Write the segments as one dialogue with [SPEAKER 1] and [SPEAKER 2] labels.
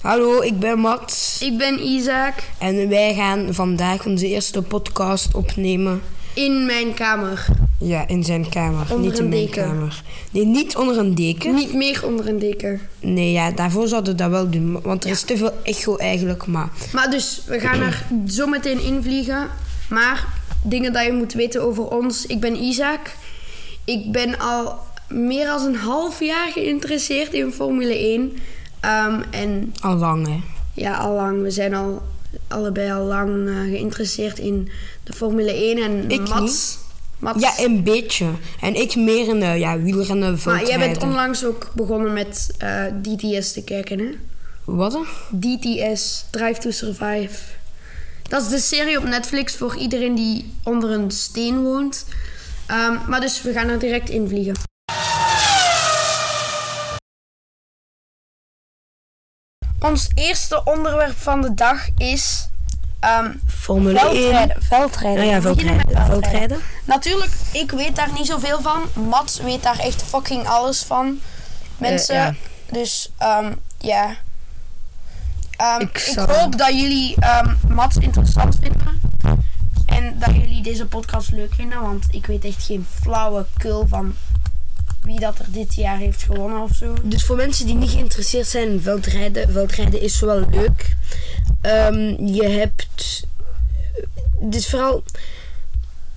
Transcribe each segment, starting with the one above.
[SPEAKER 1] Hallo, ik ben Max
[SPEAKER 2] Ik ben Isaac
[SPEAKER 1] en wij gaan vandaag onze eerste podcast opnemen.
[SPEAKER 2] in mijn kamer.
[SPEAKER 1] Ja, in zijn kamer,
[SPEAKER 2] Onder
[SPEAKER 1] niet in
[SPEAKER 2] een
[SPEAKER 1] mijn
[SPEAKER 2] deken.
[SPEAKER 1] kamer. Nee, niet onder een deken.
[SPEAKER 2] Niet meer onder een deken.
[SPEAKER 1] Nee, ja, daarvoor zouden we dat wel doen, ma- want er is te veel echo eigenlijk, maar...
[SPEAKER 2] Maar dus, we gaan er zo meteen invliegen. Maar dingen dat je moet weten over ons. Ik ben Isaac. Ik ben al meer dan een half jaar geïnteresseerd in Formule 1. Ehm, en
[SPEAKER 1] Al lang, hè.
[SPEAKER 2] ja, al lang. We zijn al allebei al lang eh, geïnteresseerd in de Formule 1 en
[SPEAKER 1] Ik
[SPEAKER 2] Mats.
[SPEAKER 1] niet.
[SPEAKER 2] Mats.
[SPEAKER 1] Ja, een beetje. En ik meer in eh, ja, wielrennen,
[SPEAKER 2] maar jij bent
[SPEAKER 1] veldrijden.
[SPEAKER 2] onlangs ook begonnen met eh, DTS te kijken, hè?
[SPEAKER 1] Wat? dan?
[SPEAKER 2] DTS, Drive to Survive. Dat is de serie op Netflix voor iedereen die onder een steen woont. Ehm, maar dus we gaan er direct in vliegen. Ons eerste onderwerp van de dag is ehm,
[SPEAKER 1] Formule 1.
[SPEAKER 2] veldrijden. veldrijden.
[SPEAKER 1] Nou ja,
[SPEAKER 2] We beginnen
[SPEAKER 1] veldrijden.
[SPEAKER 2] met
[SPEAKER 1] Veldrijden.
[SPEAKER 2] Natuurlijk, ik weet daar niet zoveel van. Mats weet daar echt fucking alles van. Mensen.
[SPEAKER 1] Eh, ja.
[SPEAKER 2] Dus ehm, ja. Ehm,
[SPEAKER 1] Ik
[SPEAKER 2] ik
[SPEAKER 1] zal-
[SPEAKER 2] hoop dat jullie ehm, Mats interessant vinden. En dat jullie deze podcast leuk vinden. Want ik weet echt geen flauwe kul van wie dat er dit jaar heeft gewonnen of zo.
[SPEAKER 1] Dus voor mensen die niet geïnteresseerd zijn in veldrijden, veldrijden is wel leuk. Ehm, je hebt. Dus vooral.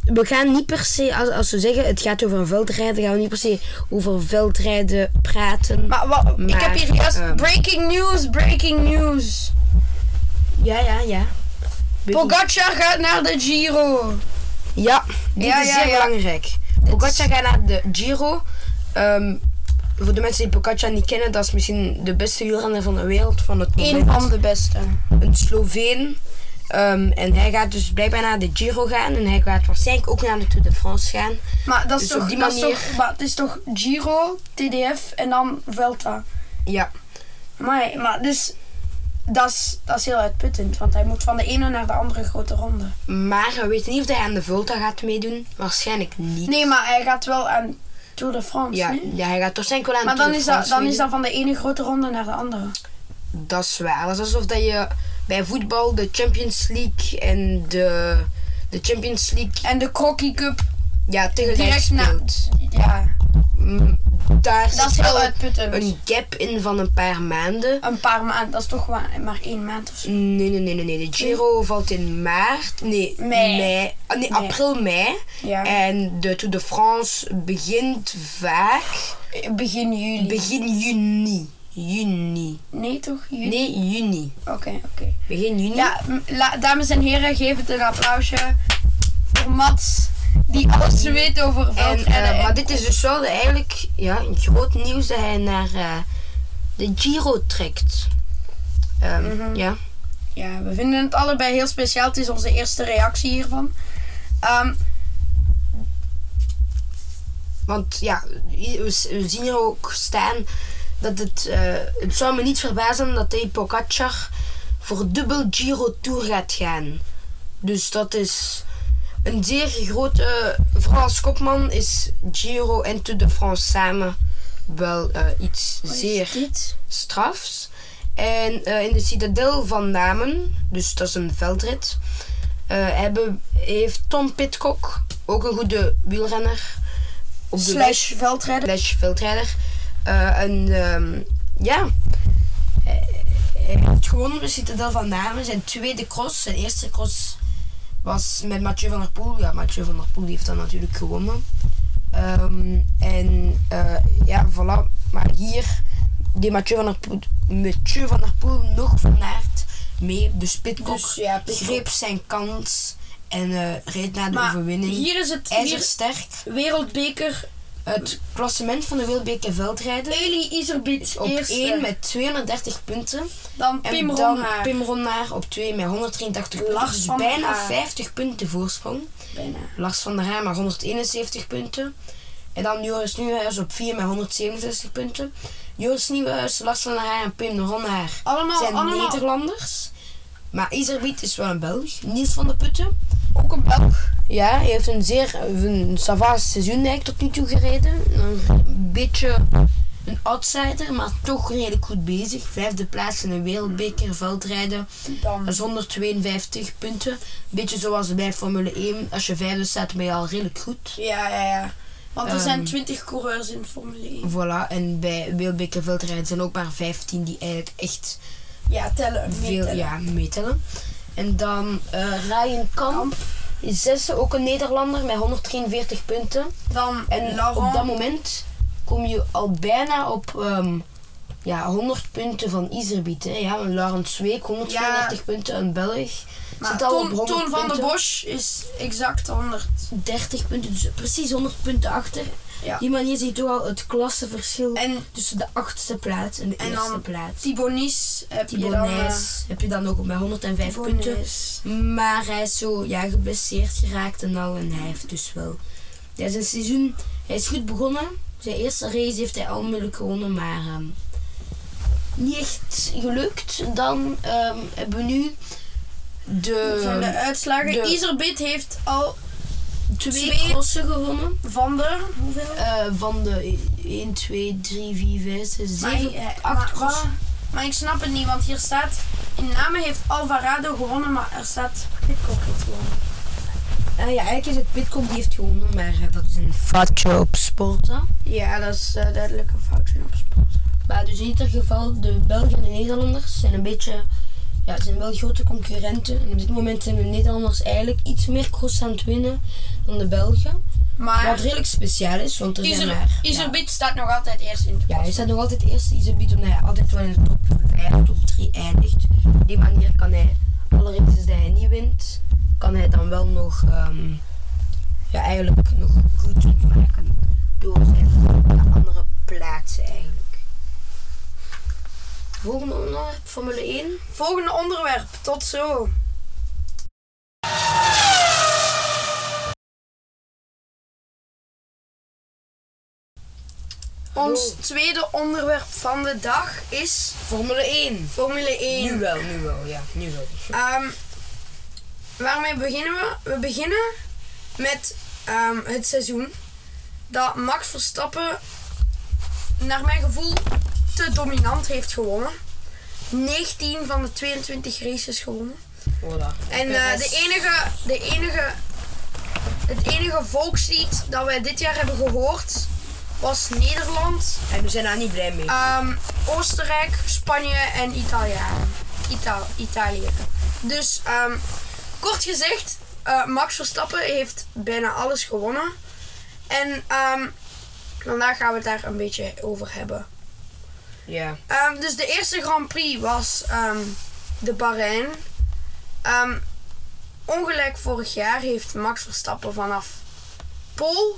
[SPEAKER 1] We gaan niet per se, als, als we zeggen het gaat over een veldrijden, gaan we niet per se over veldrijden praten.
[SPEAKER 2] Maar, wa- ik
[SPEAKER 1] Maar,
[SPEAKER 2] heb hier juist
[SPEAKER 1] ehm,
[SPEAKER 2] breaking news, breaking news.
[SPEAKER 1] ja, ja, ja.
[SPEAKER 2] Pogacar gaat naar de Giro.
[SPEAKER 1] Ja, dit
[SPEAKER 2] Ja,
[SPEAKER 1] is
[SPEAKER 2] ja,
[SPEAKER 1] zeer
[SPEAKER 2] ja.
[SPEAKER 1] belangrijk. Pogacar gaat naar de Giro. Ehm, voor de mensen die Pogacar niet kennen, dat is misschien de beste wielrenner van de wereld van het moment.
[SPEAKER 2] Eén van de beste.
[SPEAKER 1] een Sloveen. Ehm, en hij gaat dus blijkbaar naar de Giro gaan. En hij gaat waarschijnlijk ook naar de Tour de France gaan.
[SPEAKER 2] Maar dat is,
[SPEAKER 1] Dus
[SPEAKER 2] toch,
[SPEAKER 1] op die
[SPEAKER 2] dat is
[SPEAKER 1] manier-
[SPEAKER 2] toch- maar het is toch Giro, TDF en dan Vuelta.
[SPEAKER 1] Ja.
[SPEAKER 2] Maar, maar dus, dat is, dat is heel uitputtend. Want hij moet van de ene naar de andere grote ronde.
[SPEAKER 1] Maar we weten niet of hij aan de Volta gaat meedoen. Waarschijnlijk niet.
[SPEAKER 2] Nee, maar hij gaat wel aan Tour de France,
[SPEAKER 1] Ja,
[SPEAKER 2] nee?
[SPEAKER 1] ja, hij gaat waarschijnlijk wel aan
[SPEAKER 2] Maar
[SPEAKER 1] de Tour
[SPEAKER 2] dan
[SPEAKER 1] de
[SPEAKER 2] is,
[SPEAKER 1] France
[SPEAKER 2] dat, dan is
[SPEAKER 1] meedoen.
[SPEAKER 2] dat van de ene grote ronde naar de andere.
[SPEAKER 1] Dat is waar. Dat is alsof dat je bij voetbal de Champions League en de, de Champions League
[SPEAKER 2] En de Crocky Cup
[SPEAKER 1] ja, tegelijk
[SPEAKER 2] direct na...
[SPEAKER 1] speelt.
[SPEAKER 2] Ja,
[SPEAKER 1] Mm, Daar
[SPEAKER 2] dat
[SPEAKER 1] zit
[SPEAKER 2] is heel
[SPEAKER 1] wel
[SPEAKER 2] uitputtend. Een,
[SPEAKER 1] een gap in van een paar maanden.
[SPEAKER 2] paar maanden, dat is toch maar, maar één maand of zo.
[SPEAKER 1] Nee, nee, nee, nee, nee. De Giro valt in maart. Nee,
[SPEAKER 2] Mei.
[SPEAKER 1] Ah, nee, april, mei.
[SPEAKER 2] Ja.
[SPEAKER 1] En de Tour de France begint vaak
[SPEAKER 2] Begin juli.
[SPEAKER 1] begin juni. Juni.
[SPEAKER 2] nee, toch? Juli?
[SPEAKER 1] Nee, juni.
[SPEAKER 2] Oké, oké.
[SPEAKER 1] Begin juni.
[SPEAKER 2] Ja, m- la- dames en heren, geef het een applausje voor Mats, die alles weet over
[SPEAKER 1] En,
[SPEAKER 2] veldrijden.
[SPEAKER 1] eh,
[SPEAKER 2] en-
[SPEAKER 1] maar dit is dus wel de- eigenlijk ja, een groot nieuws dat hij naar eh, de Giro trekt. Ehm, Ja.
[SPEAKER 2] Ja, we vinden het allebei heel speciaal. Het is onze eerste reactie hiervan. Ehm,
[SPEAKER 1] Want ja, we we zien hier ook staan dat het. eh, het zou me niet verbazen dat hij Pogacar voor dubbel Giro Tour gaat gaan. Dus dat is een zeer grote. Vooral als kopman is Giro en Tour de France samen wel eh, iets
[SPEAKER 2] wat is
[SPEAKER 1] zeer
[SPEAKER 2] dit?
[SPEAKER 1] strafs. En eh, in de citadel van Namen, dus dat is een veldrit, eh, hebben, heeft Tom Pitcock, ook een goede wielrenner, op de weg-
[SPEAKER 2] Slash veldrijden.
[SPEAKER 1] slash veldrijder, eh, een, ehm, ja, Eh, hij, hij heeft gewonnen op de citadel van Namen, zijn tweede cross, zijn eerste cross was met Mathieu van der Poel. Ja, Mathieu van der Poel die heeft dan natuurlijk gewonnen. Ehm, en eh, ja, voilà. Maar hier die Mathieu van der Poel, Mathieu van der Poel nog van Aert mee. Dus Pitcock
[SPEAKER 2] Dus ja, Pidcock.
[SPEAKER 1] greep zijn kans en eh, reed naar de
[SPEAKER 2] Maar
[SPEAKER 1] overwinning.
[SPEAKER 2] hier is het hier is
[SPEAKER 1] IJzersterk.
[SPEAKER 2] wereldbeker
[SPEAKER 1] Het klassement van de Wereldbeker veldrijden
[SPEAKER 2] Eli Iserbiet
[SPEAKER 1] is op
[SPEAKER 2] eerste.
[SPEAKER 1] 1 met 230 punten.
[SPEAKER 2] Dan
[SPEAKER 1] En
[SPEAKER 2] Pim
[SPEAKER 1] dan
[SPEAKER 2] Ronhaar.
[SPEAKER 1] Pim Ronnaar op 2 met 183
[SPEAKER 2] Lars
[SPEAKER 1] punten. Dus
[SPEAKER 2] van
[SPEAKER 1] bijna
[SPEAKER 2] Haar.
[SPEAKER 1] 50 punten voorsprong.
[SPEAKER 2] Bijna.
[SPEAKER 1] Lars van der Haar met 171 punten. En dan Joris Nieuwenhuis op 4 met 167 punten. Joris Nieuwenhuis, Lars van der Haar en Pim de Ronhaar
[SPEAKER 2] Allemaal,
[SPEAKER 1] zijn
[SPEAKER 2] allemaal
[SPEAKER 1] Nederlanders. Maar Iserbiet is wel een Belg. Niels van der Putten.
[SPEAKER 2] ook een Belg.
[SPEAKER 1] Ja, hij heeft een zeer een savaas seizoen eigenlijk tot nu toe gereden. Een beetje een outsider, maar toch redelijk goed bezig. Vijfde plaats in een wereldbeker, veldrijden.
[SPEAKER 2] Dan.
[SPEAKER 1] Dat is 152 punten. Beetje zoals bij Formule 1. Als je vijfde staat, ben je al redelijk goed.
[SPEAKER 2] Ja, ja, ja. Want er zijn
[SPEAKER 1] Ehm.
[SPEAKER 2] 20 coureurs in Formule 1.
[SPEAKER 1] Voilà, en bij wereldbeker veldrijden zijn ook maar 15 die eigenlijk echt
[SPEAKER 2] Ja, tellen.
[SPEAKER 1] veel
[SPEAKER 2] meetellen.
[SPEAKER 1] ja, meetellen. En dan eh, Ryan Kamp. Is zesde, ook een Nederlander met 143 punten.
[SPEAKER 2] Dan
[SPEAKER 1] En
[SPEAKER 2] Laurent.
[SPEAKER 1] op dat moment kom je al bijna op ehm, ja, 100 punten van Iserbiet. Hè. Ja, een Laurens Zweek, 132 punten, een Belg.
[SPEAKER 2] Maar
[SPEAKER 1] zit al op
[SPEAKER 2] Toon,
[SPEAKER 1] 100
[SPEAKER 2] Toon van der
[SPEAKER 1] punten.
[SPEAKER 2] Bosch is exact 100.
[SPEAKER 1] 30 punten, dus precies 100 punten achter.
[SPEAKER 2] Ja.
[SPEAKER 1] Die manier zie je toch al het klassenverschil
[SPEAKER 2] En
[SPEAKER 1] tussen de achtste plaats en de
[SPEAKER 2] En dan
[SPEAKER 1] eerste plaats.
[SPEAKER 2] Thibonis heb je dan... eh,
[SPEAKER 1] Thibonis heb je dan ook met 105 punten.
[SPEAKER 2] Thibonis.
[SPEAKER 1] Maar hij is zo ja, geblesseerd geraakt en al. En hij heeft dus wel. Ja, zijn seizoen, hij is goed begonnen. Zijn eerste race heeft hij al moeilijk gewonnen, maar ehm, niet echt gelukt. Dan ehm, hebben we nu
[SPEAKER 2] Dat zijn de
[SPEAKER 1] de
[SPEAKER 2] uitslagen.
[SPEAKER 1] Ehm, de-
[SPEAKER 2] Izerbit heeft al
[SPEAKER 1] twee
[SPEAKER 2] twee-
[SPEAKER 1] crossen gewonnen.
[SPEAKER 2] van de... Hoeveel?
[SPEAKER 1] Eh, van de 1, 2, 3, 4, 5, 6,
[SPEAKER 2] Maar,
[SPEAKER 1] 7,
[SPEAKER 2] eh,
[SPEAKER 1] 8
[SPEAKER 2] maar-
[SPEAKER 1] crossen.
[SPEAKER 2] Maar ik snap het niet, want hier staat... In namen heeft Alvarado gewonnen, maar er staat... Pitcock heeft gewonnen.
[SPEAKER 1] Eh, ja, eigenlijk is het Pitcock die heeft gewonnen, maar eh, dat is een foutje op Sporza.
[SPEAKER 2] Ja, dat is eh, duidelijk een foutje op sport.
[SPEAKER 1] Maar dus in ieder geval, de Belgen en de Nederlanders zijn een beetje, ja, zijn wel grote concurrenten. En op dit moment zijn de Nederlanders eigenlijk iets meer cross aan het winnen dan de Belgen. Wat
[SPEAKER 2] Maar
[SPEAKER 1] redelijk speciaal is, want er zijn maar... ja.
[SPEAKER 2] Izerbit staat nog altijd eerst in de
[SPEAKER 1] Ja, hij staat nog altijd eerst Iserbiet omdat hij Nou altijd wel in de top 5, top 3 eindigt. Op die manier kan hij alle races die hij niet wint, kan hij dan wel nog, ehm, ja, eigenlijk nog goed maken. Door zijn andere plaatsen eigenlijk. Volgende onderwerp, Formule 1.
[SPEAKER 2] Volgende onderwerp. Tot zo. Ons tweede onderwerp van de dag is
[SPEAKER 1] Formule 1.
[SPEAKER 2] Formule 1.
[SPEAKER 1] Nu wel, nu wel, ja, nu wel.
[SPEAKER 2] Ehm, waarmee beginnen we? We beginnen met ehm, het seizoen dat Max Verstappen, naar mijn gevoel, te dominant heeft gewonnen. 19 van de 22 races gewonnen.
[SPEAKER 1] Voilà.
[SPEAKER 2] En eh, de enige, de enige, het enige volkslied dat wij dit jaar hebben gehoord was Nederland,
[SPEAKER 1] En we zijn daar niet blij mee.
[SPEAKER 2] ehm, Oostenrijk, Spanje en Italiaan. Ita- Italië. Dus ehm, kort gezegd, eh, Max Verstappen heeft bijna alles gewonnen. En ehm, vandaag gaan we het daar een beetje over hebben.
[SPEAKER 1] Ja.
[SPEAKER 2] Ehm, dus de eerste Grand Prix was ehm, de Bahrein. Ehm, ongelijk vorig jaar heeft Max Verstappen vanaf Pol.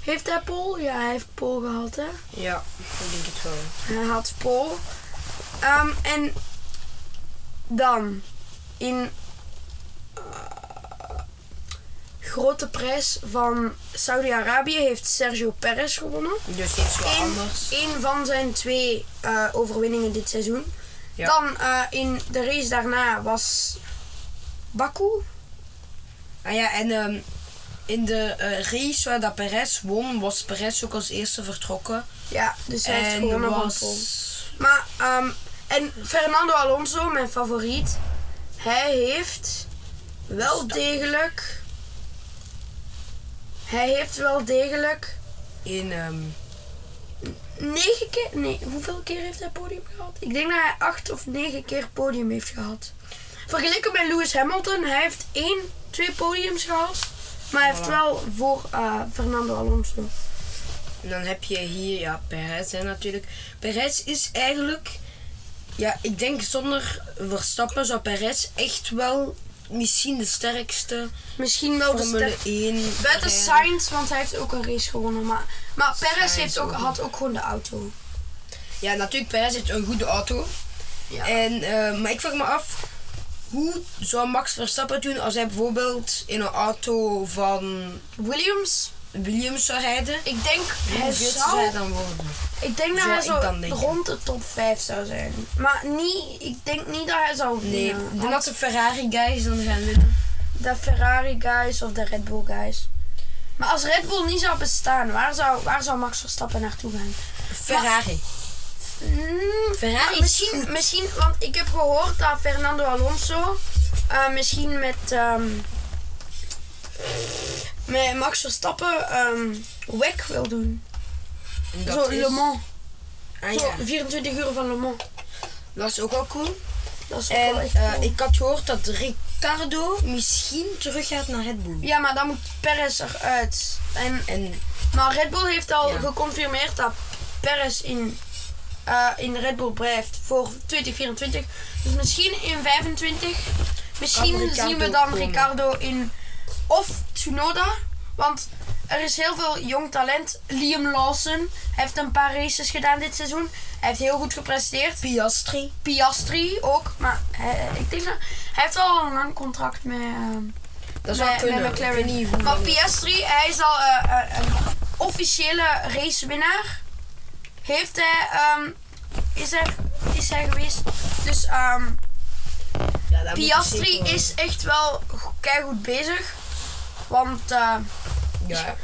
[SPEAKER 2] Heeft hij Pol? Ja, hij heeft Pol gehad, hè?
[SPEAKER 1] Ja, ik denk het wel.
[SPEAKER 2] Hij had Pol. Ehm, en dan in eh, grote prijs van Saudi-Arabië heeft Sergio Perez gewonnen.
[SPEAKER 1] Dus iets wel
[SPEAKER 2] Eén
[SPEAKER 1] anders.
[SPEAKER 2] één van zijn twee eh, overwinningen dit seizoen.
[SPEAKER 1] Ja.
[SPEAKER 2] Dan eh, in de race daarna was Baku.
[SPEAKER 1] Ah ja, en ehm, in de eh, race waar dat Perez won, was Perez ook als eerste vertrokken.
[SPEAKER 2] Ja, dus hij heeft
[SPEAKER 1] en
[SPEAKER 2] gewonnen
[SPEAKER 1] was...
[SPEAKER 2] van Pol. Maar, ehm, en Fernando Alonso, mijn favoriet, hij heeft wel degelijk. Hij heeft wel degelijk
[SPEAKER 1] in... ehm,
[SPEAKER 2] negen keer. Nee, hoeveel keer heeft hij podium gehad? Ik denk dat hij acht of negen keer podium heeft gehad. Vergeleken met Lewis Hamilton, hij heeft één, twee podiums gehad. Maar hij heeft
[SPEAKER 1] Voilà.
[SPEAKER 2] wel voor eh, Fernando Alonso.
[SPEAKER 1] en dan heb je hier, ja, Perez hè, natuurlijk. Perez is eigenlijk... Ja, ik denk zonder Verstappen zou Perez echt wel misschien de sterkste
[SPEAKER 2] Misschien wel de
[SPEAKER 1] Formule
[SPEAKER 2] ster-
[SPEAKER 1] 1
[SPEAKER 2] Better
[SPEAKER 1] rijder.
[SPEAKER 2] Sainz, want hij heeft ook een race gewonnen. Maar, maar Perez
[SPEAKER 1] Sainz
[SPEAKER 2] heeft ook,
[SPEAKER 1] ook.
[SPEAKER 2] had ook gewoon de auto.
[SPEAKER 1] Ja, natuurlijk, Perez heeft een goede auto.
[SPEAKER 2] Ja.
[SPEAKER 1] En, eh, maar ik vraag me af, hoe zou Max Verstappen doen als hij bijvoorbeeld in een auto van
[SPEAKER 2] Williams,
[SPEAKER 1] Williams zou rijden?
[SPEAKER 2] ik denk, hij
[SPEAKER 1] Hoeveel zou hij
[SPEAKER 2] zou,
[SPEAKER 1] dan worden?
[SPEAKER 2] ik denk dat
[SPEAKER 1] zou
[SPEAKER 2] hij
[SPEAKER 1] ik dan
[SPEAKER 2] zo
[SPEAKER 1] denken?
[SPEAKER 2] rond de top 5 zou zijn. Maar niet, ik denk niet dat hij zou
[SPEAKER 1] Nee,
[SPEAKER 2] winnen.
[SPEAKER 1] de
[SPEAKER 2] want
[SPEAKER 1] natte Ferrari guys dan gaan winnen.
[SPEAKER 2] de Ferrari guys of de Red Bull guys. Maar als Red Bull niet zou bestaan, waar zou, waar zou Max Verstappen naartoe gaan?
[SPEAKER 1] Ferrari.
[SPEAKER 2] Mm,
[SPEAKER 1] Ferrari is
[SPEAKER 2] misschien, misschien, want ik heb gehoord dat Fernando Alonso eh, misschien met, ehm, met Max Verstappen ehm WEC wil doen.
[SPEAKER 1] Dat
[SPEAKER 2] zo
[SPEAKER 1] is-
[SPEAKER 2] Le Mans.
[SPEAKER 1] Ah,
[SPEAKER 2] Zo
[SPEAKER 1] ja.
[SPEAKER 2] 24 uur van Le Mans.
[SPEAKER 1] Dat is ook wel cool.
[SPEAKER 2] Dat is ook
[SPEAKER 1] En
[SPEAKER 2] wel echt
[SPEAKER 1] eh,
[SPEAKER 2] cool.
[SPEAKER 1] ik had gehoord dat Ricardo misschien terug gaat naar Red Bull.
[SPEAKER 2] Ja, maar dan moet Perez eruit. En,
[SPEAKER 1] En
[SPEAKER 2] maar Red Bull heeft al
[SPEAKER 1] Ja.
[SPEAKER 2] geconfirmeerd dat Perez in, eh, in de Red Bull blijft voor 2024. Dus misschien in 25.
[SPEAKER 1] Kan
[SPEAKER 2] Misschien
[SPEAKER 1] Ricardo
[SPEAKER 2] zien we dan
[SPEAKER 1] komen.
[SPEAKER 2] Ricardo in of Tsunoda. Want er is heel veel jong talent. Liam Lawson heeft een paar races gedaan dit seizoen. Hij heeft heel goed gepresteerd.
[SPEAKER 1] Piastri.
[SPEAKER 2] Piastri ook. Maar eh, ik denk dat hij heeft al een lang contract met... ehm,
[SPEAKER 1] Dat zou
[SPEAKER 2] met-
[SPEAKER 1] kunnen.
[SPEAKER 2] Met McLaren.
[SPEAKER 1] Ik weet niet hoe
[SPEAKER 2] maar
[SPEAKER 1] lang-
[SPEAKER 2] Piastri, hij is al eh, eh, een officiële racewinnaar. Heeft hij, ehm, is hij, is hij geweest. Dus ehm,
[SPEAKER 1] Ja, daar moet ik
[SPEAKER 2] Piastri
[SPEAKER 1] zeker wel-
[SPEAKER 2] is echt wel goed bezig. Want eh,
[SPEAKER 1] Ja,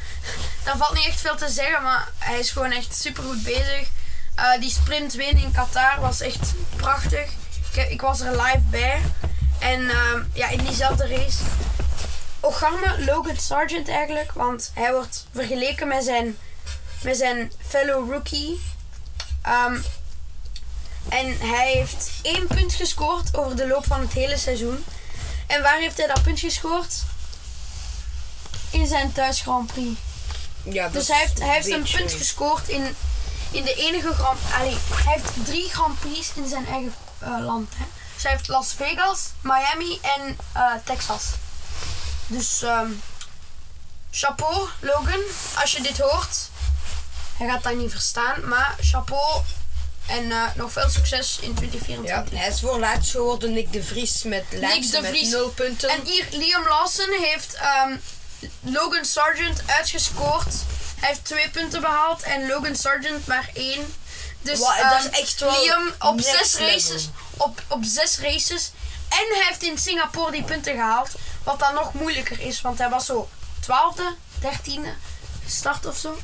[SPEAKER 2] daar valt niet echt veel te zeggen, maar hij is gewoon echt super goed bezig. Eh, die sprint win in Qatar was echt prachtig. Ik, heb- ik was er live bij. En ehm, ja, in diezelfde race. Ogarme Logan Sargent eigenlijk, want hij wordt vergeleken met zijn, met zijn fellow rookie. Ehm, en hij heeft één punt gescoord over de loop van het hele seizoen. En waar heeft hij dat punt gescoord? In zijn thuis Grand Prix.
[SPEAKER 1] ja dat
[SPEAKER 2] Dus hij heeft,
[SPEAKER 1] is
[SPEAKER 2] hij heeft een
[SPEAKER 1] beetje-
[SPEAKER 2] punt gescoord in, in de enige Grand Allee, hij heeft drie Grand Prix in zijn eigen eh, land. Hè. Dus hij heeft Las Vegas, Miami en eh, Texas. Dus ehm, chapeau, Logan, als je dit hoort. Hij gaat dat niet verstaan, maar chapeau en eh, nog veel succes in
[SPEAKER 1] Ja,
[SPEAKER 2] 2024.
[SPEAKER 1] hij is voor laatst geworden Nick de Vries met laatste
[SPEAKER 2] de Vries.
[SPEAKER 1] met 0 punten.
[SPEAKER 2] En hier, Liam Lawson heeft ehm, Logan Sargent uitgescoord. Hij heeft twee punten behaald en Logan Sargent maar één. Dus
[SPEAKER 1] Wa- dat is
[SPEAKER 2] ehm,
[SPEAKER 1] echt wel
[SPEAKER 2] Liam op
[SPEAKER 1] next
[SPEAKER 2] zes,
[SPEAKER 1] level.
[SPEAKER 2] races, op, op zes races. En hij heeft in Singapore die punten gehaald. Wat dan nog moeilijker is, want hij was zo twaalfde, dertiende gestart of zo.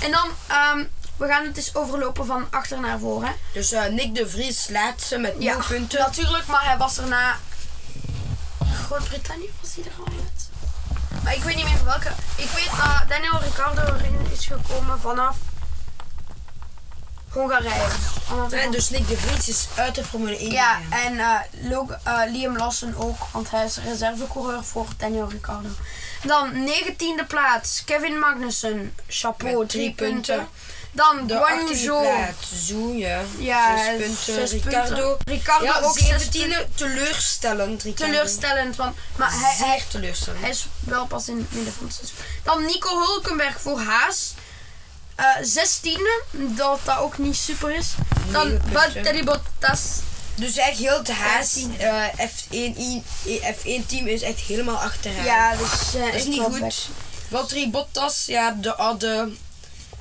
[SPEAKER 2] En dan, ehm, we gaan het eens overlopen van achter naar voren. hè.
[SPEAKER 1] Dus eh, Nick de Vries laatste met 0
[SPEAKER 2] Ja,
[SPEAKER 1] punten.
[SPEAKER 2] natuurlijk, maar hij was erna. Groot-Brittannië was hij er al uit. Maar ik weet niet meer welke. Ik weet dat Daniel Ricciardo erin is gekomen vanaf Hongarije. Omdat hij
[SPEAKER 1] En
[SPEAKER 2] van-
[SPEAKER 1] dus Nick de Vries is uit de Formule 1
[SPEAKER 2] ja,
[SPEAKER 1] gegaan.
[SPEAKER 2] en eh, Lo- eh, Liam Lawson ook, want hij is reservecoureur voor Daniel Ricciardo. Dan 19e plaats, Kevin Magnussen, chapeau,
[SPEAKER 1] Met
[SPEAKER 2] drie
[SPEAKER 1] drie punten.
[SPEAKER 2] punten. Dan
[SPEAKER 1] De
[SPEAKER 2] Guan Yu
[SPEAKER 1] 18e
[SPEAKER 2] Zhou.
[SPEAKER 1] plaats, Zhou, ja.
[SPEAKER 2] Ja,
[SPEAKER 1] Zes
[SPEAKER 2] hij is
[SPEAKER 1] punten.
[SPEAKER 2] zes
[SPEAKER 1] Ricardo.
[SPEAKER 2] Ricardo
[SPEAKER 1] Ja,
[SPEAKER 2] ook 17
[SPEAKER 1] 17e teleurstellend, Ricardo.
[SPEAKER 2] teleurstellend, want maar hij, hij,
[SPEAKER 1] Zeer teleurstellend.
[SPEAKER 2] Hij is wel pas in het midden van het seizoen. Dan Nico Hulkenberg voor Haas. Eh, Zestiende, dat dat ook niet super is. Dan
[SPEAKER 1] punten.
[SPEAKER 2] Valtteri Bottas.
[SPEAKER 1] Dus echt heel het haas,
[SPEAKER 2] 15e.
[SPEAKER 1] eh, F1, i- F1 team is echt helemaal achter hem.
[SPEAKER 2] Ja, dus eh,
[SPEAKER 1] dat is
[SPEAKER 2] echt
[SPEAKER 1] niet
[SPEAKER 2] wel
[SPEAKER 1] goed.
[SPEAKER 2] bek.
[SPEAKER 1] Valtteri Bottas, ja, de oude,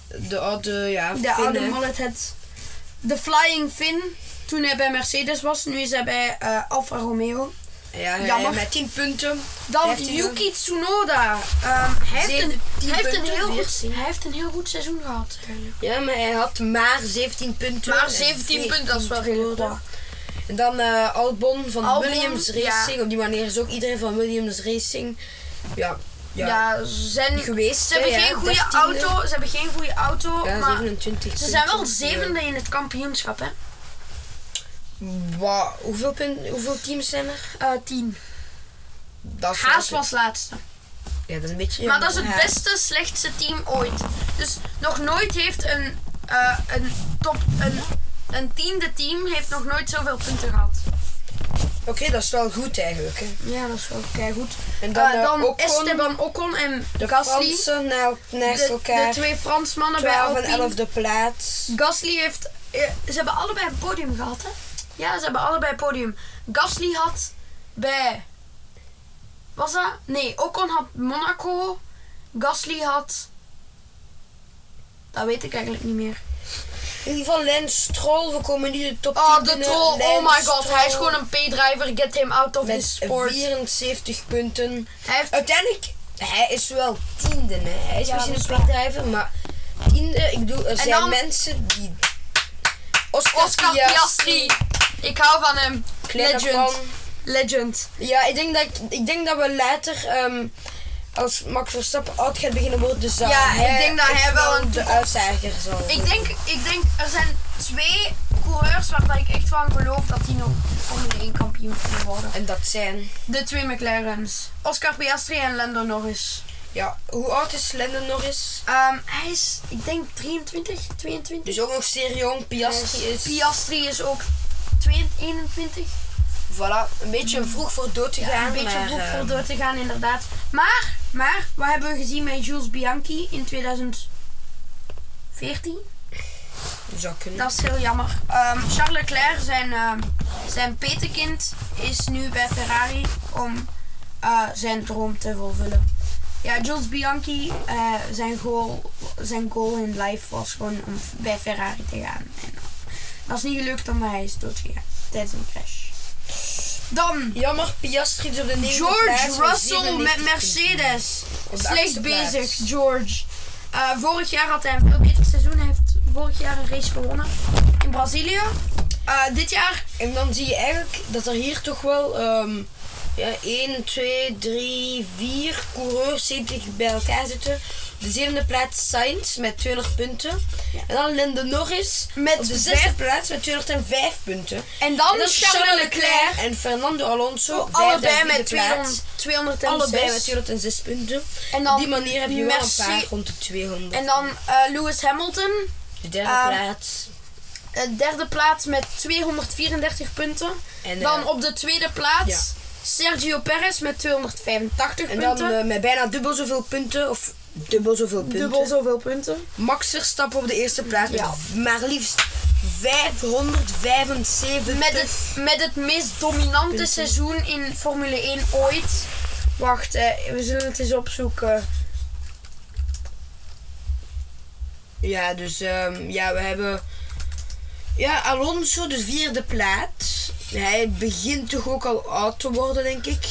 [SPEAKER 1] de oude, ja,
[SPEAKER 2] De oude
[SPEAKER 1] Finn, hè.
[SPEAKER 2] mullethead. De Flying Finn, toen hij bij Mercedes was. Nu is hij bij eh, Alfa Romeo.
[SPEAKER 1] Ja, hij-
[SPEAKER 2] Jammer.
[SPEAKER 1] met 10 punten.
[SPEAKER 2] Dan
[SPEAKER 1] Heeft hij dan-
[SPEAKER 2] Yuki Tsunoda. Ehm, hij, heeft een,
[SPEAKER 1] 17
[SPEAKER 2] hij, heeft een
[SPEAKER 1] punten,
[SPEAKER 2] heel goed,
[SPEAKER 1] 14.
[SPEAKER 2] hij heeft een heel goed seizoen gehad. eigenlijk.
[SPEAKER 1] Ja, maar hij had maar 17 punten.
[SPEAKER 2] Maar
[SPEAKER 1] en
[SPEAKER 2] 17 punten, dat is wel
[SPEAKER 1] 14
[SPEAKER 2] redelijk
[SPEAKER 1] punten.
[SPEAKER 2] hoor.
[SPEAKER 1] En dan eh, Albon van
[SPEAKER 2] Albon,
[SPEAKER 1] Williams
[SPEAKER 2] ja.
[SPEAKER 1] Racing. Op die manier is ook iedereen van Williams Racing. Ja, ja.
[SPEAKER 2] Ja, ze zijn
[SPEAKER 1] geweest.
[SPEAKER 2] Ze hebben
[SPEAKER 1] hè, ja,
[SPEAKER 2] geen goede
[SPEAKER 1] 13e.
[SPEAKER 2] auto, ze hebben geen goede auto,
[SPEAKER 1] Ja,
[SPEAKER 2] maar
[SPEAKER 1] 27
[SPEAKER 2] ze zijn wel
[SPEAKER 1] punten.
[SPEAKER 2] zevende in het kampioenschap, hè?
[SPEAKER 1] Wa- hoeveel, pun- hoeveel teams zijn er?
[SPEAKER 2] Eh tien.
[SPEAKER 1] Dat is
[SPEAKER 2] Haas
[SPEAKER 1] wel-
[SPEAKER 2] was laatste.
[SPEAKER 1] Ja, dat is een beetje
[SPEAKER 2] maar
[SPEAKER 1] jammer.
[SPEAKER 2] dat is het
[SPEAKER 1] Ja.
[SPEAKER 2] beste, slechtste team ooit. Dus nog nooit heeft een, eh, een top, een, een tiende team heeft nog nooit zoveel punten gehad.
[SPEAKER 1] Oké, dat is wel goed eigenlijk. Hè.
[SPEAKER 2] Ja, dat is wel goed.
[SPEAKER 1] En
[SPEAKER 2] Dan,
[SPEAKER 1] dan, eh,
[SPEAKER 2] Ah, dan
[SPEAKER 1] Ocon,
[SPEAKER 2] Esteban Ocon en
[SPEAKER 1] de
[SPEAKER 2] Gasly.
[SPEAKER 1] Fransen na- naast
[SPEAKER 2] De, de
[SPEAKER 1] elkaar.
[SPEAKER 2] twee Fransmannen bij
[SPEAKER 1] 12
[SPEAKER 2] Alpine.
[SPEAKER 1] en 11e plaats.
[SPEAKER 2] Gasly heeft. eh, Ze hebben allebei een podium gehad, hè? Ja, ze hebben allebei een podium. Gasly had bij. Was dat? Nee, Ocon had Monaco. Gasly had. Dat weet ik eigenlijk niet meer.
[SPEAKER 1] In ieder geval Lens Stroll, we komen nu de top 10
[SPEAKER 2] Oh, de
[SPEAKER 1] binnen.
[SPEAKER 2] troll. Oh
[SPEAKER 1] Lance
[SPEAKER 2] my god, hij is
[SPEAKER 1] Stroll
[SPEAKER 2] gewoon een P-driver. Get him out of
[SPEAKER 1] met
[SPEAKER 2] this sport.
[SPEAKER 1] 74 punten.
[SPEAKER 2] Hij heeft.
[SPEAKER 1] Uiteindelijk, hij is wel 10 tiende. Hè. Hij is
[SPEAKER 2] Ja,
[SPEAKER 1] misschien
[SPEAKER 2] dat
[SPEAKER 1] een
[SPEAKER 2] is
[SPEAKER 1] plakdrijver, maar tiende, ik doe, er zijn
[SPEAKER 2] dan-
[SPEAKER 1] mensen die. Oscar,
[SPEAKER 2] Oscar Piastri. Ik hou van hem.
[SPEAKER 1] Legend.
[SPEAKER 2] Legend. Legend.
[SPEAKER 1] Ja, ik denk dat, ik, ik denk dat we later, ehm, als Max Verstappen oud gaat beginnen worden, dus dat
[SPEAKER 2] Ja, ik
[SPEAKER 1] hij
[SPEAKER 2] denk dat
[SPEAKER 1] echt
[SPEAKER 2] hij wel een
[SPEAKER 1] de uitstijger zal
[SPEAKER 2] Ik denk, ik denk, er zijn twee coureurs waarvan ik echt van geloof dat die nog Formule 1 kampioen kunnen worden.
[SPEAKER 1] En dat zijn.
[SPEAKER 2] De twee McLaren's. Oscar Piastri en Lando Norris.
[SPEAKER 1] Ja, hoe oud is Lennon Norris?
[SPEAKER 2] Ehm, hij is, ik denk, 23, 22.
[SPEAKER 1] Dus ook nog zeer jong. Piastri is.
[SPEAKER 2] Piastri is ook 22, 21.
[SPEAKER 1] Voilà, een beetje vroeg voor dood te gaan.
[SPEAKER 2] een beetje
[SPEAKER 1] maar,
[SPEAKER 2] vroeg
[SPEAKER 1] ehm,
[SPEAKER 2] voor door te gaan, inderdaad. Maar, maar, wat hebben we gezien met Jules Bianchi in 2014?
[SPEAKER 1] Zou kunnen.
[SPEAKER 2] Dat is heel jammer. Ehm, Charles Leclerc, zijn, ehm, zijn petekind, is nu bij Ferrari om eh, zijn droom te vervullen. Ja, Jules Bianchi, eh, zijn, goal, zijn goal in life was gewoon om bij Ferrari te gaan. En dat is niet gelukt omdat hij is doodgegaan tijdens een crash. Dan
[SPEAKER 1] Jammer, Piastri door de negende plaats
[SPEAKER 2] George
[SPEAKER 1] met
[SPEAKER 2] Russell met
[SPEAKER 1] 97
[SPEAKER 2] Mercedes.
[SPEAKER 1] Op de
[SPEAKER 2] Slecht
[SPEAKER 1] achtste plaats.
[SPEAKER 2] bezig, George. Eh, vorig jaar had hij een veel beter seizoen. Hij heeft vorig jaar een race gewonnen in Brazilië. Eh, dit jaar,
[SPEAKER 1] En dan zie je eigenlijk dat er hier toch wel ehm ja, 1, 2, 3, 4 coureurs zitten die bij elkaar zitten. De zevende plaats Sainz met 200 punten. En dan Lando Norris
[SPEAKER 2] Met
[SPEAKER 1] op de
[SPEAKER 2] vijf-
[SPEAKER 1] zesde plaats met 205 punten.
[SPEAKER 2] En dan
[SPEAKER 1] is
[SPEAKER 2] Charles Leclerc.
[SPEAKER 1] en Fernando Alonso. vijfde en
[SPEAKER 2] allebei
[SPEAKER 1] vierde
[SPEAKER 2] met
[SPEAKER 1] plaats.
[SPEAKER 2] 200, 206.
[SPEAKER 1] Allebei met 206 punten.
[SPEAKER 2] En dan
[SPEAKER 1] Op die manier heb je wel een
[SPEAKER 2] Merci-
[SPEAKER 1] paar rond de 200.
[SPEAKER 2] En dan eh, Lewis Hamilton.
[SPEAKER 1] de derde
[SPEAKER 2] ehm,
[SPEAKER 1] plaats.
[SPEAKER 2] eh, derde plaats met 234 punten.
[SPEAKER 1] En,
[SPEAKER 2] dan
[SPEAKER 1] eh,
[SPEAKER 2] op de tweede plaats
[SPEAKER 1] ja.
[SPEAKER 2] Sergio Perez met 285
[SPEAKER 1] En dan
[SPEAKER 2] punten.
[SPEAKER 1] eh, met bijna dubbel zoveel punten. Of dubbel zoveel punten.
[SPEAKER 2] Dubbel zoveel punten.
[SPEAKER 1] Max Verstappen op de eerste plaats met
[SPEAKER 2] Ja.
[SPEAKER 1] maar liefst 575.
[SPEAKER 2] Met het, met het meest dominante seizoen in Formule 1 ooit. Wacht, eh, we zullen het eens opzoeken.
[SPEAKER 1] Ja, dus ehm, ja, we hebben. Ja, Alonso, de vierde plaats. Hij begint toch ook al oud te worden, denk ik.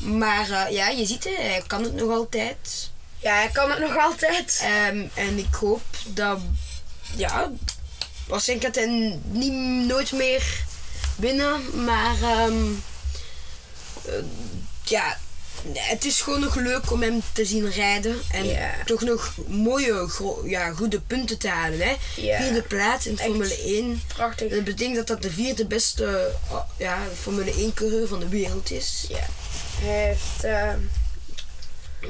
[SPEAKER 1] Maar eh, ja, je ziet het, hij kan het nog altijd.
[SPEAKER 2] Ja, hij kan het nog altijd.
[SPEAKER 1] Ehm, en ik hoop dat. Ja, waarschijnlijk gaat hij niet, nooit meer winnen. Maar ehm, eh, ja, het is gewoon nog leuk om hem te zien rijden. En
[SPEAKER 2] Ja.
[SPEAKER 1] toch nog mooie, gro- ja, goede punten te halen. Hè?
[SPEAKER 2] Ja.
[SPEAKER 1] Vierde plaats in Formule 1.
[SPEAKER 2] Prachtig.
[SPEAKER 1] Dat betekent dat dat de vierde beste eh, ja, Formule 1-coureur van de wereld is.
[SPEAKER 2] Ja. Hij heeft eh,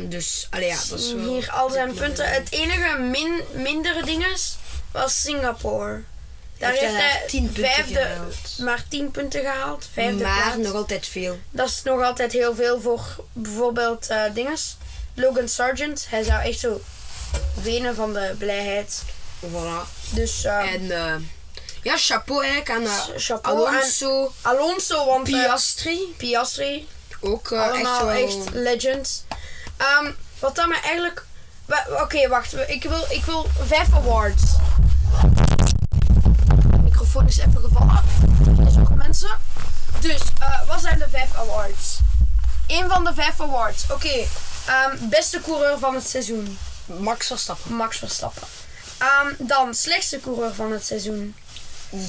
[SPEAKER 1] Dus, allee, ja, dat is wel... eh,
[SPEAKER 2] hier al zijn punten. Het enige min, mindere ding is, was Singapore. Daar
[SPEAKER 1] Heeft
[SPEAKER 2] heeft,
[SPEAKER 1] hij daar
[SPEAKER 2] hij
[SPEAKER 1] 10 punten
[SPEAKER 2] vijfde,
[SPEAKER 1] gehaald.
[SPEAKER 2] maar 10 punten gehaald. Vijfde
[SPEAKER 1] Maar
[SPEAKER 2] plaats.
[SPEAKER 1] nog altijd veel.
[SPEAKER 2] Dat is nog altijd heel veel voor bijvoorbeeld eh dinges. Logan Sargent, hij zou echt zo wenen van de blijheid.
[SPEAKER 1] Voilà.
[SPEAKER 2] Dus eh,
[SPEAKER 1] En eh, ja, chapeau eigenlijk aan eh,
[SPEAKER 2] S- chapeau aan-
[SPEAKER 1] Alonso,
[SPEAKER 2] Alonso, want eh,
[SPEAKER 1] Piastri.
[SPEAKER 2] Piastri,
[SPEAKER 1] Ook eh,
[SPEAKER 2] allemaal echt,
[SPEAKER 1] echt wel...
[SPEAKER 2] legends. Ehm, wat dan maar eigenlijk... wa- Oké, wacht. Ik wil, ik wil vijf awards. Microfoon is even gevallen. Sorry mensen. Dus, eh, wat zijn de vijf awards? Eén van de vijf awards. Oké. ehm, beste coureur van het seizoen.
[SPEAKER 1] Max Verstappen.
[SPEAKER 2] Max Verstappen. Ehm, dan slechtste coureur van het seizoen.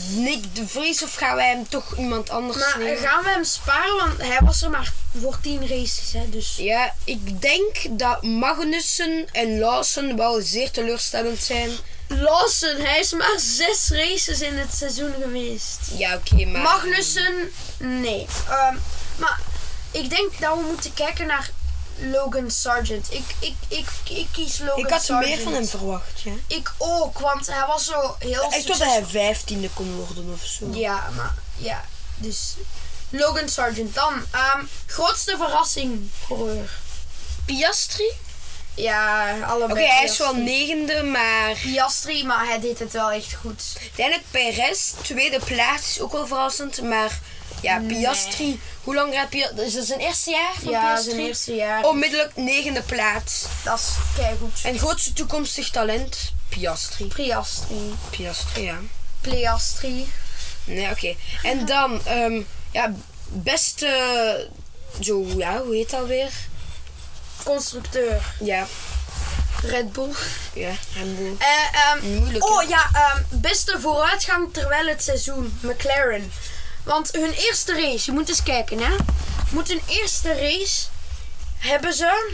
[SPEAKER 1] Nick de Vries of gaan wij hem toch iemand anders
[SPEAKER 2] Maar eh,
[SPEAKER 1] nemen?
[SPEAKER 2] gaan we hem sparen? Want hij was er maar voor tien races, hè, dus...
[SPEAKER 1] Ja, ik denk dat Magnussen en Lawson wel zeer teleurstellend zijn.
[SPEAKER 2] Lawson, hij is maar zes races in het seizoen geweest.
[SPEAKER 1] Ja, oké, maar...
[SPEAKER 2] Magnussen, nee. Ehm, maar ik denk dat we moeten kijken naar Logan Sargent. Ik, ik, ik, ik kies Logan
[SPEAKER 1] Ik had
[SPEAKER 2] Sargent.
[SPEAKER 1] meer van hem verwacht, ja.
[SPEAKER 2] Ik ook, want hij was zo heel
[SPEAKER 1] Ik dacht dat hij vijftiende kon worden of zo.
[SPEAKER 2] Ja, maar ja, dus Logan Sargent. Dan, ehm, grootste verrassing, coureur.
[SPEAKER 1] Piastri?
[SPEAKER 2] Ja, allebei.
[SPEAKER 1] Oké, hij is
[SPEAKER 2] Piastri.
[SPEAKER 1] wel negende, maar...
[SPEAKER 2] Piastri, maar hij deed het wel echt goed.
[SPEAKER 1] Uiteindelijk Perez, tweede plaats, is ook wel verrassend, maar ja, Piastri, hoe lang gaat Piastri? Is dat zijn eerste jaar van
[SPEAKER 2] Ja,
[SPEAKER 1] Piastri?
[SPEAKER 2] zijn eerste jaar. dus.
[SPEAKER 1] Onmiddellijk negende plaats.
[SPEAKER 2] Dat is keigoed.
[SPEAKER 1] En grootste toekomstig talent? Piastri.
[SPEAKER 2] Priastri.
[SPEAKER 1] Piastri, ja.
[SPEAKER 2] Pleastri.
[SPEAKER 1] Nee, oké. En dan, ehm, ja, beste, zo, ja, hoe heet dat weer?
[SPEAKER 2] Constructeur.
[SPEAKER 1] Ja,
[SPEAKER 2] Red Bull.
[SPEAKER 1] Ja, en
[SPEAKER 2] Eh, ehm,
[SPEAKER 1] Moeilijk, hè?
[SPEAKER 2] oh ja, ehm, beste vooruitgang terwijl het seizoen, McLaren. Want hun eerste race, je moet eens kijken hè. Moet hun eerste race hebben ze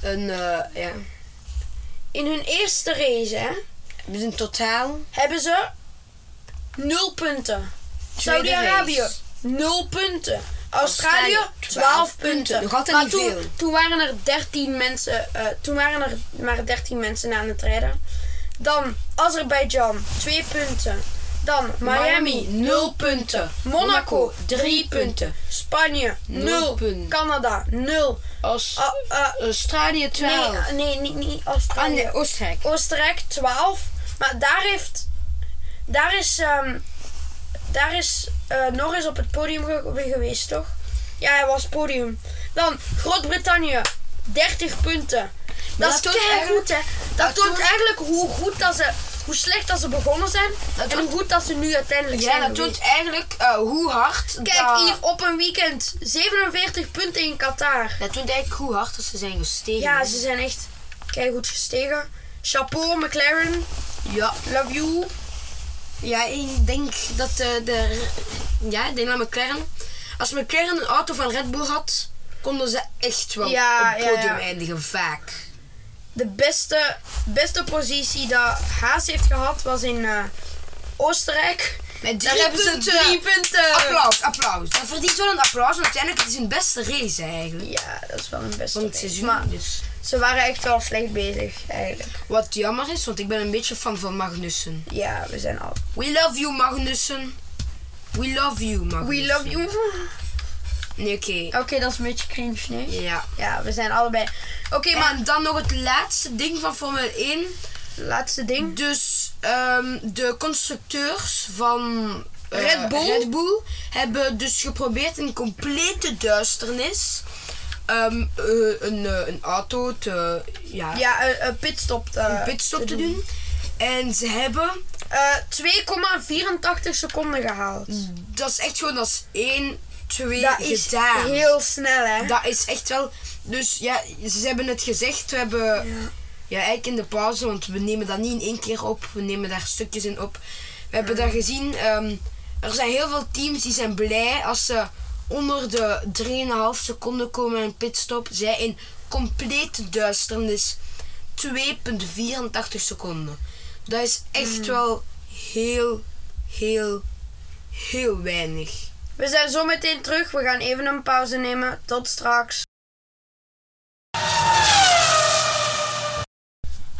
[SPEAKER 1] een, eh, ja.
[SPEAKER 2] in hun eerste race hè,
[SPEAKER 1] Dus in totaal
[SPEAKER 2] hebben ze 0 punten.
[SPEAKER 1] Tweede
[SPEAKER 2] Saudi-Arabië
[SPEAKER 1] race.
[SPEAKER 2] 0 punten. Australië
[SPEAKER 1] Australië,
[SPEAKER 2] 12 punten.
[SPEAKER 1] Nog altijd
[SPEAKER 2] maar
[SPEAKER 1] niet
[SPEAKER 2] toen,
[SPEAKER 1] veel.
[SPEAKER 2] toen waren er 13 mensen, eh, toen waren er maar 13 mensen aan het rijden. Dan Azerbeidzjan 2 punten. Dan Miami 0 punten. Monaco 3 punten. Spanje
[SPEAKER 1] Nul
[SPEAKER 2] 0
[SPEAKER 1] punten.
[SPEAKER 2] Canada 0.
[SPEAKER 1] Als
[SPEAKER 2] Ah, eh,
[SPEAKER 1] Australië 12.
[SPEAKER 2] nee, eh, nee, niet, niet
[SPEAKER 1] Ah,
[SPEAKER 2] Australië.
[SPEAKER 1] nee, Oostenrijk.
[SPEAKER 2] Oostenrijk 12. Maar daar heeft. Daar is. ehm, daar is eh, nog eens op het podium ge- weer geweest, toch? Ja, hij was podium. Dan Groot-Brittannië, 30 punten. Dat,
[SPEAKER 1] dat
[SPEAKER 2] is
[SPEAKER 1] toont
[SPEAKER 2] goed, hè? Dat
[SPEAKER 1] dat
[SPEAKER 2] toont
[SPEAKER 1] toont-
[SPEAKER 2] eigenlijk hoe goed dat ze. Hoe slecht dat ze begonnen zijn.
[SPEAKER 1] Dat
[SPEAKER 2] en
[SPEAKER 1] toont-
[SPEAKER 2] hoe goed dat ze nu uiteindelijk zijn.
[SPEAKER 1] Ja, dat
[SPEAKER 2] geweest.
[SPEAKER 1] toont eigenlijk eh, hoe hard.
[SPEAKER 2] Kijk
[SPEAKER 1] dat-
[SPEAKER 2] hier op een weekend. 47 punten in Qatar.
[SPEAKER 1] Dat toont eigenlijk hoe hard dat ze zijn gestegen.
[SPEAKER 2] Ja, ze zijn echt goed gestegen. Chapeau, McLaren.
[SPEAKER 1] ja.
[SPEAKER 2] Love you.
[SPEAKER 1] Ja, ik denk dat eh, de. Ja, ik denk dat McLaren. Als McLaren een auto van Red Bull had, konden ze echt wel
[SPEAKER 2] Ja,
[SPEAKER 1] op
[SPEAKER 2] ja,
[SPEAKER 1] het podium
[SPEAKER 2] ja.
[SPEAKER 1] eindigen, vaak.
[SPEAKER 2] de beste, beste positie dat Haas heeft gehad was in eh, Oostenrijk.
[SPEAKER 1] Met
[SPEAKER 2] Daar hebben ze drie eh, punten.
[SPEAKER 1] Applaus, applaus. Dat verdient wel een applaus, want uiteindelijk is het hun beste race eigenlijk.
[SPEAKER 2] Ja, dat is wel een beste.
[SPEAKER 1] Van het
[SPEAKER 2] race.
[SPEAKER 1] seizoen.
[SPEAKER 2] Maar
[SPEAKER 1] Dus.
[SPEAKER 2] ze waren echt wel slecht bezig eigenlijk.
[SPEAKER 1] Wat jammer is, want ik ben een beetje fan van Magnussen.
[SPEAKER 2] Ja, we zijn al.
[SPEAKER 1] We love you, Magnussen. We love you, Magnussen.
[SPEAKER 2] We love you.
[SPEAKER 1] Nee, oké.
[SPEAKER 2] Oké, dat is een beetje cringe, nee?
[SPEAKER 1] Ja.
[SPEAKER 2] Ja, we zijn allebei. Oké, maar
[SPEAKER 1] En dan nog het laatste ding van Formule 1.
[SPEAKER 2] laatste ding.
[SPEAKER 1] Dus ehm, de constructeurs van eh,
[SPEAKER 2] Red Bull?
[SPEAKER 1] Red Bull hebben dus geprobeerd in complete duisternis ehm, eh, een, eh, een auto te, ja,
[SPEAKER 2] Ja, eh eh, pitstop. eh,
[SPEAKER 1] een pitstop te, doen. En ze hebben,
[SPEAKER 2] eh, 2,84 seconden gehaald.
[SPEAKER 1] dat is echt gewoon als 1, 2
[SPEAKER 2] Dat is
[SPEAKER 1] gedaan.
[SPEAKER 2] heel snel, hè?
[SPEAKER 1] Dat is echt wel, dus ja, ze hebben het gezegd, we hebben, ja. eigenlijk in de pauze, want we nemen dat niet in één keer op, we nemen daar stukjes in op. We hebben dat gezien, ehm, er zijn heel veel teams die zijn blij als ze onder de 3,5 seconden komen in pitstop. Zij in complete duisternis 2,84 seconden. Dat is echt
[SPEAKER 2] Mm.
[SPEAKER 1] wel heel, heel, heel weinig.
[SPEAKER 2] We zijn zo meteen terug. We gaan even een pauze nemen. Tot straks.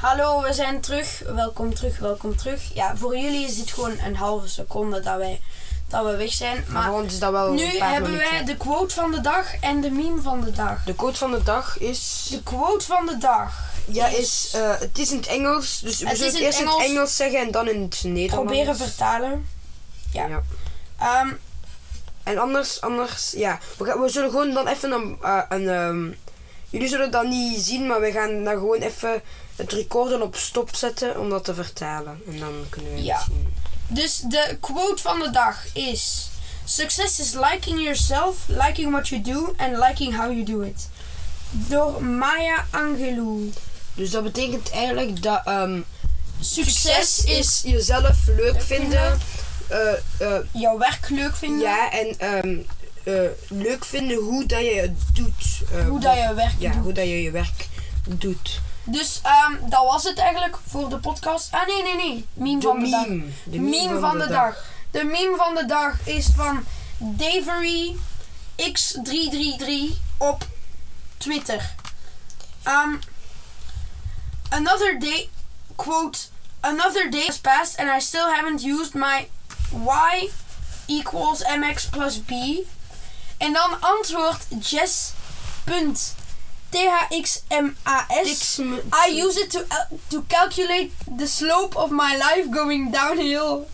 [SPEAKER 2] Hallo, we zijn terug. Welkom terug, welkom terug. Ja, voor jullie is het gewoon een halve seconde dat, wij, dat we weg zijn.
[SPEAKER 1] Maar
[SPEAKER 2] Maar
[SPEAKER 1] voor ons is dat wel een
[SPEAKER 2] nu
[SPEAKER 1] paar
[SPEAKER 2] hebben
[SPEAKER 1] minuten.
[SPEAKER 2] wij de quote van de dag en de meme van de dag.
[SPEAKER 1] De code van de dag is...
[SPEAKER 2] De quote van de dag.
[SPEAKER 1] Ja, is, eh, het is in het Engels. Dus we zullen
[SPEAKER 2] Het is
[SPEAKER 1] het
[SPEAKER 2] in
[SPEAKER 1] eerst in
[SPEAKER 2] Engels.
[SPEAKER 1] het Engels zeggen en dan in het Nederlands.
[SPEAKER 2] Proberen vertalen. ja.
[SPEAKER 1] Ja.
[SPEAKER 2] Ehm,
[SPEAKER 1] En anders, anders, ja. We, gaan, we zullen gewoon dan even een... eh, een ehm, jullie zullen dat niet zien, maar we gaan dan gewoon even het recorden op stop zetten om dat te vertalen. En dan kunnen we
[SPEAKER 2] Ja.
[SPEAKER 1] het zien.
[SPEAKER 2] Dus de quote van de dag is: Success is liking yourself, liking what you do and liking how you do it. Door Maya Angelou.
[SPEAKER 1] Dus dat betekent eigenlijk dat... ehm,
[SPEAKER 2] Succes is
[SPEAKER 1] jezelf leuk vinden. eh, eh,
[SPEAKER 2] jouw werk leuk vinden,
[SPEAKER 1] ja, en ehm, eh, leuk vinden hoe dat je het doet. eh,
[SPEAKER 2] hoe dat je werk
[SPEAKER 1] Ja,
[SPEAKER 2] doet.
[SPEAKER 1] hoe dat je je werk doet.
[SPEAKER 2] Dus ehm, dat was het eigenlijk voor de podcast. Ah nee, nee, nee. Meme
[SPEAKER 1] De
[SPEAKER 2] van de dag.
[SPEAKER 1] meme. De
[SPEAKER 2] meme, van, de, dag. De meme van de dag is van Davery X333 op Twitter. Um, another day, quote, another day has passed and I still haven't used my y equals mx plus b. En dan antwoord jess.thxmas. I use it to, uh, to calculate the slope of my life going downhill.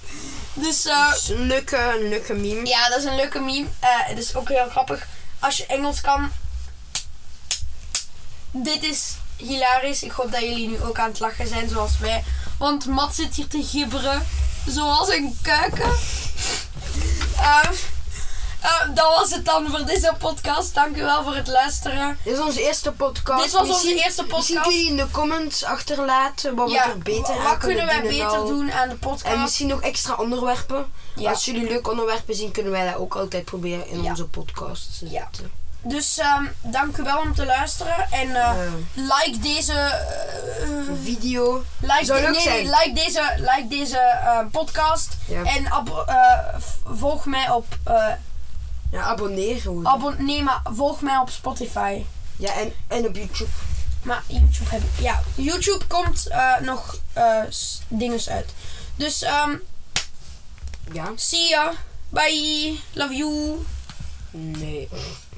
[SPEAKER 2] Dus eh,
[SPEAKER 1] Dat is een leuke, een leuke meme.
[SPEAKER 2] ja, dat is een leuke meme. Eh, het is ook heel grappig. Als je Engels kan. Dit is hilarisch. Ik hoop dat jullie nu ook aan het lachen zijn zoals wij. Want Mat zit hier te gibberen. Zoals een kuiken. Eh, Eh, dat was het dan voor deze podcast. Dank u wel voor het luisteren.
[SPEAKER 1] Dit is onze eerste podcast.
[SPEAKER 2] Dit was onze
[SPEAKER 1] Misschien-
[SPEAKER 2] eerste
[SPEAKER 1] Misschien
[SPEAKER 2] podcast.
[SPEAKER 1] kun je in de comments achterlaten wat we er beter
[SPEAKER 2] wat
[SPEAKER 1] aan
[SPEAKER 2] kunnen wij
[SPEAKER 1] doen en
[SPEAKER 2] beter
[SPEAKER 1] al.
[SPEAKER 2] doen aan de
[SPEAKER 1] nou? En
[SPEAKER 2] podcast?
[SPEAKER 1] misschien nog extra onderwerpen.
[SPEAKER 2] Ja.
[SPEAKER 1] Als jullie leuke onderwerpen zien, kunnen wij dat ook altijd proberen in
[SPEAKER 2] Ja.
[SPEAKER 1] onze podcast te
[SPEAKER 2] Ja.
[SPEAKER 1] zetten.
[SPEAKER 2] Dus ehm, dank u wel om te luisteren. En eh, like deze. eh,
[SPEAKER 1] Video.
[SPEAKER 2] like,
[SPEAKER 1] Zou
[SPEAKER 2] de-
[SPEAKER 1] leuk
[SPEAKER 2] nee, nee,
[SPEAKER 1] zijn.
[SPEAKER 2] like deze, like deze eh, podcast.
[SPEAKER 1] Ja.
[SPEAKER 2] En abo- eh, v- volg mij op. eh
[SPEAKER 1] Ja, abonneer gewoon.
[SPEAKER 2] abon- nee, maar volg mij op Spotify.
[SPEAKER 1] ja, en, en op YouTube.
[SPEAKER 2] Maar YouTube heb ik. Ja, YouTube komt eh, nog eh dingen uit. Dus ehm
[SPEAKER 1] Ja?
[SPEAKER 2] see ya. Bye. Love you.
[SPEAKER 1] Nee.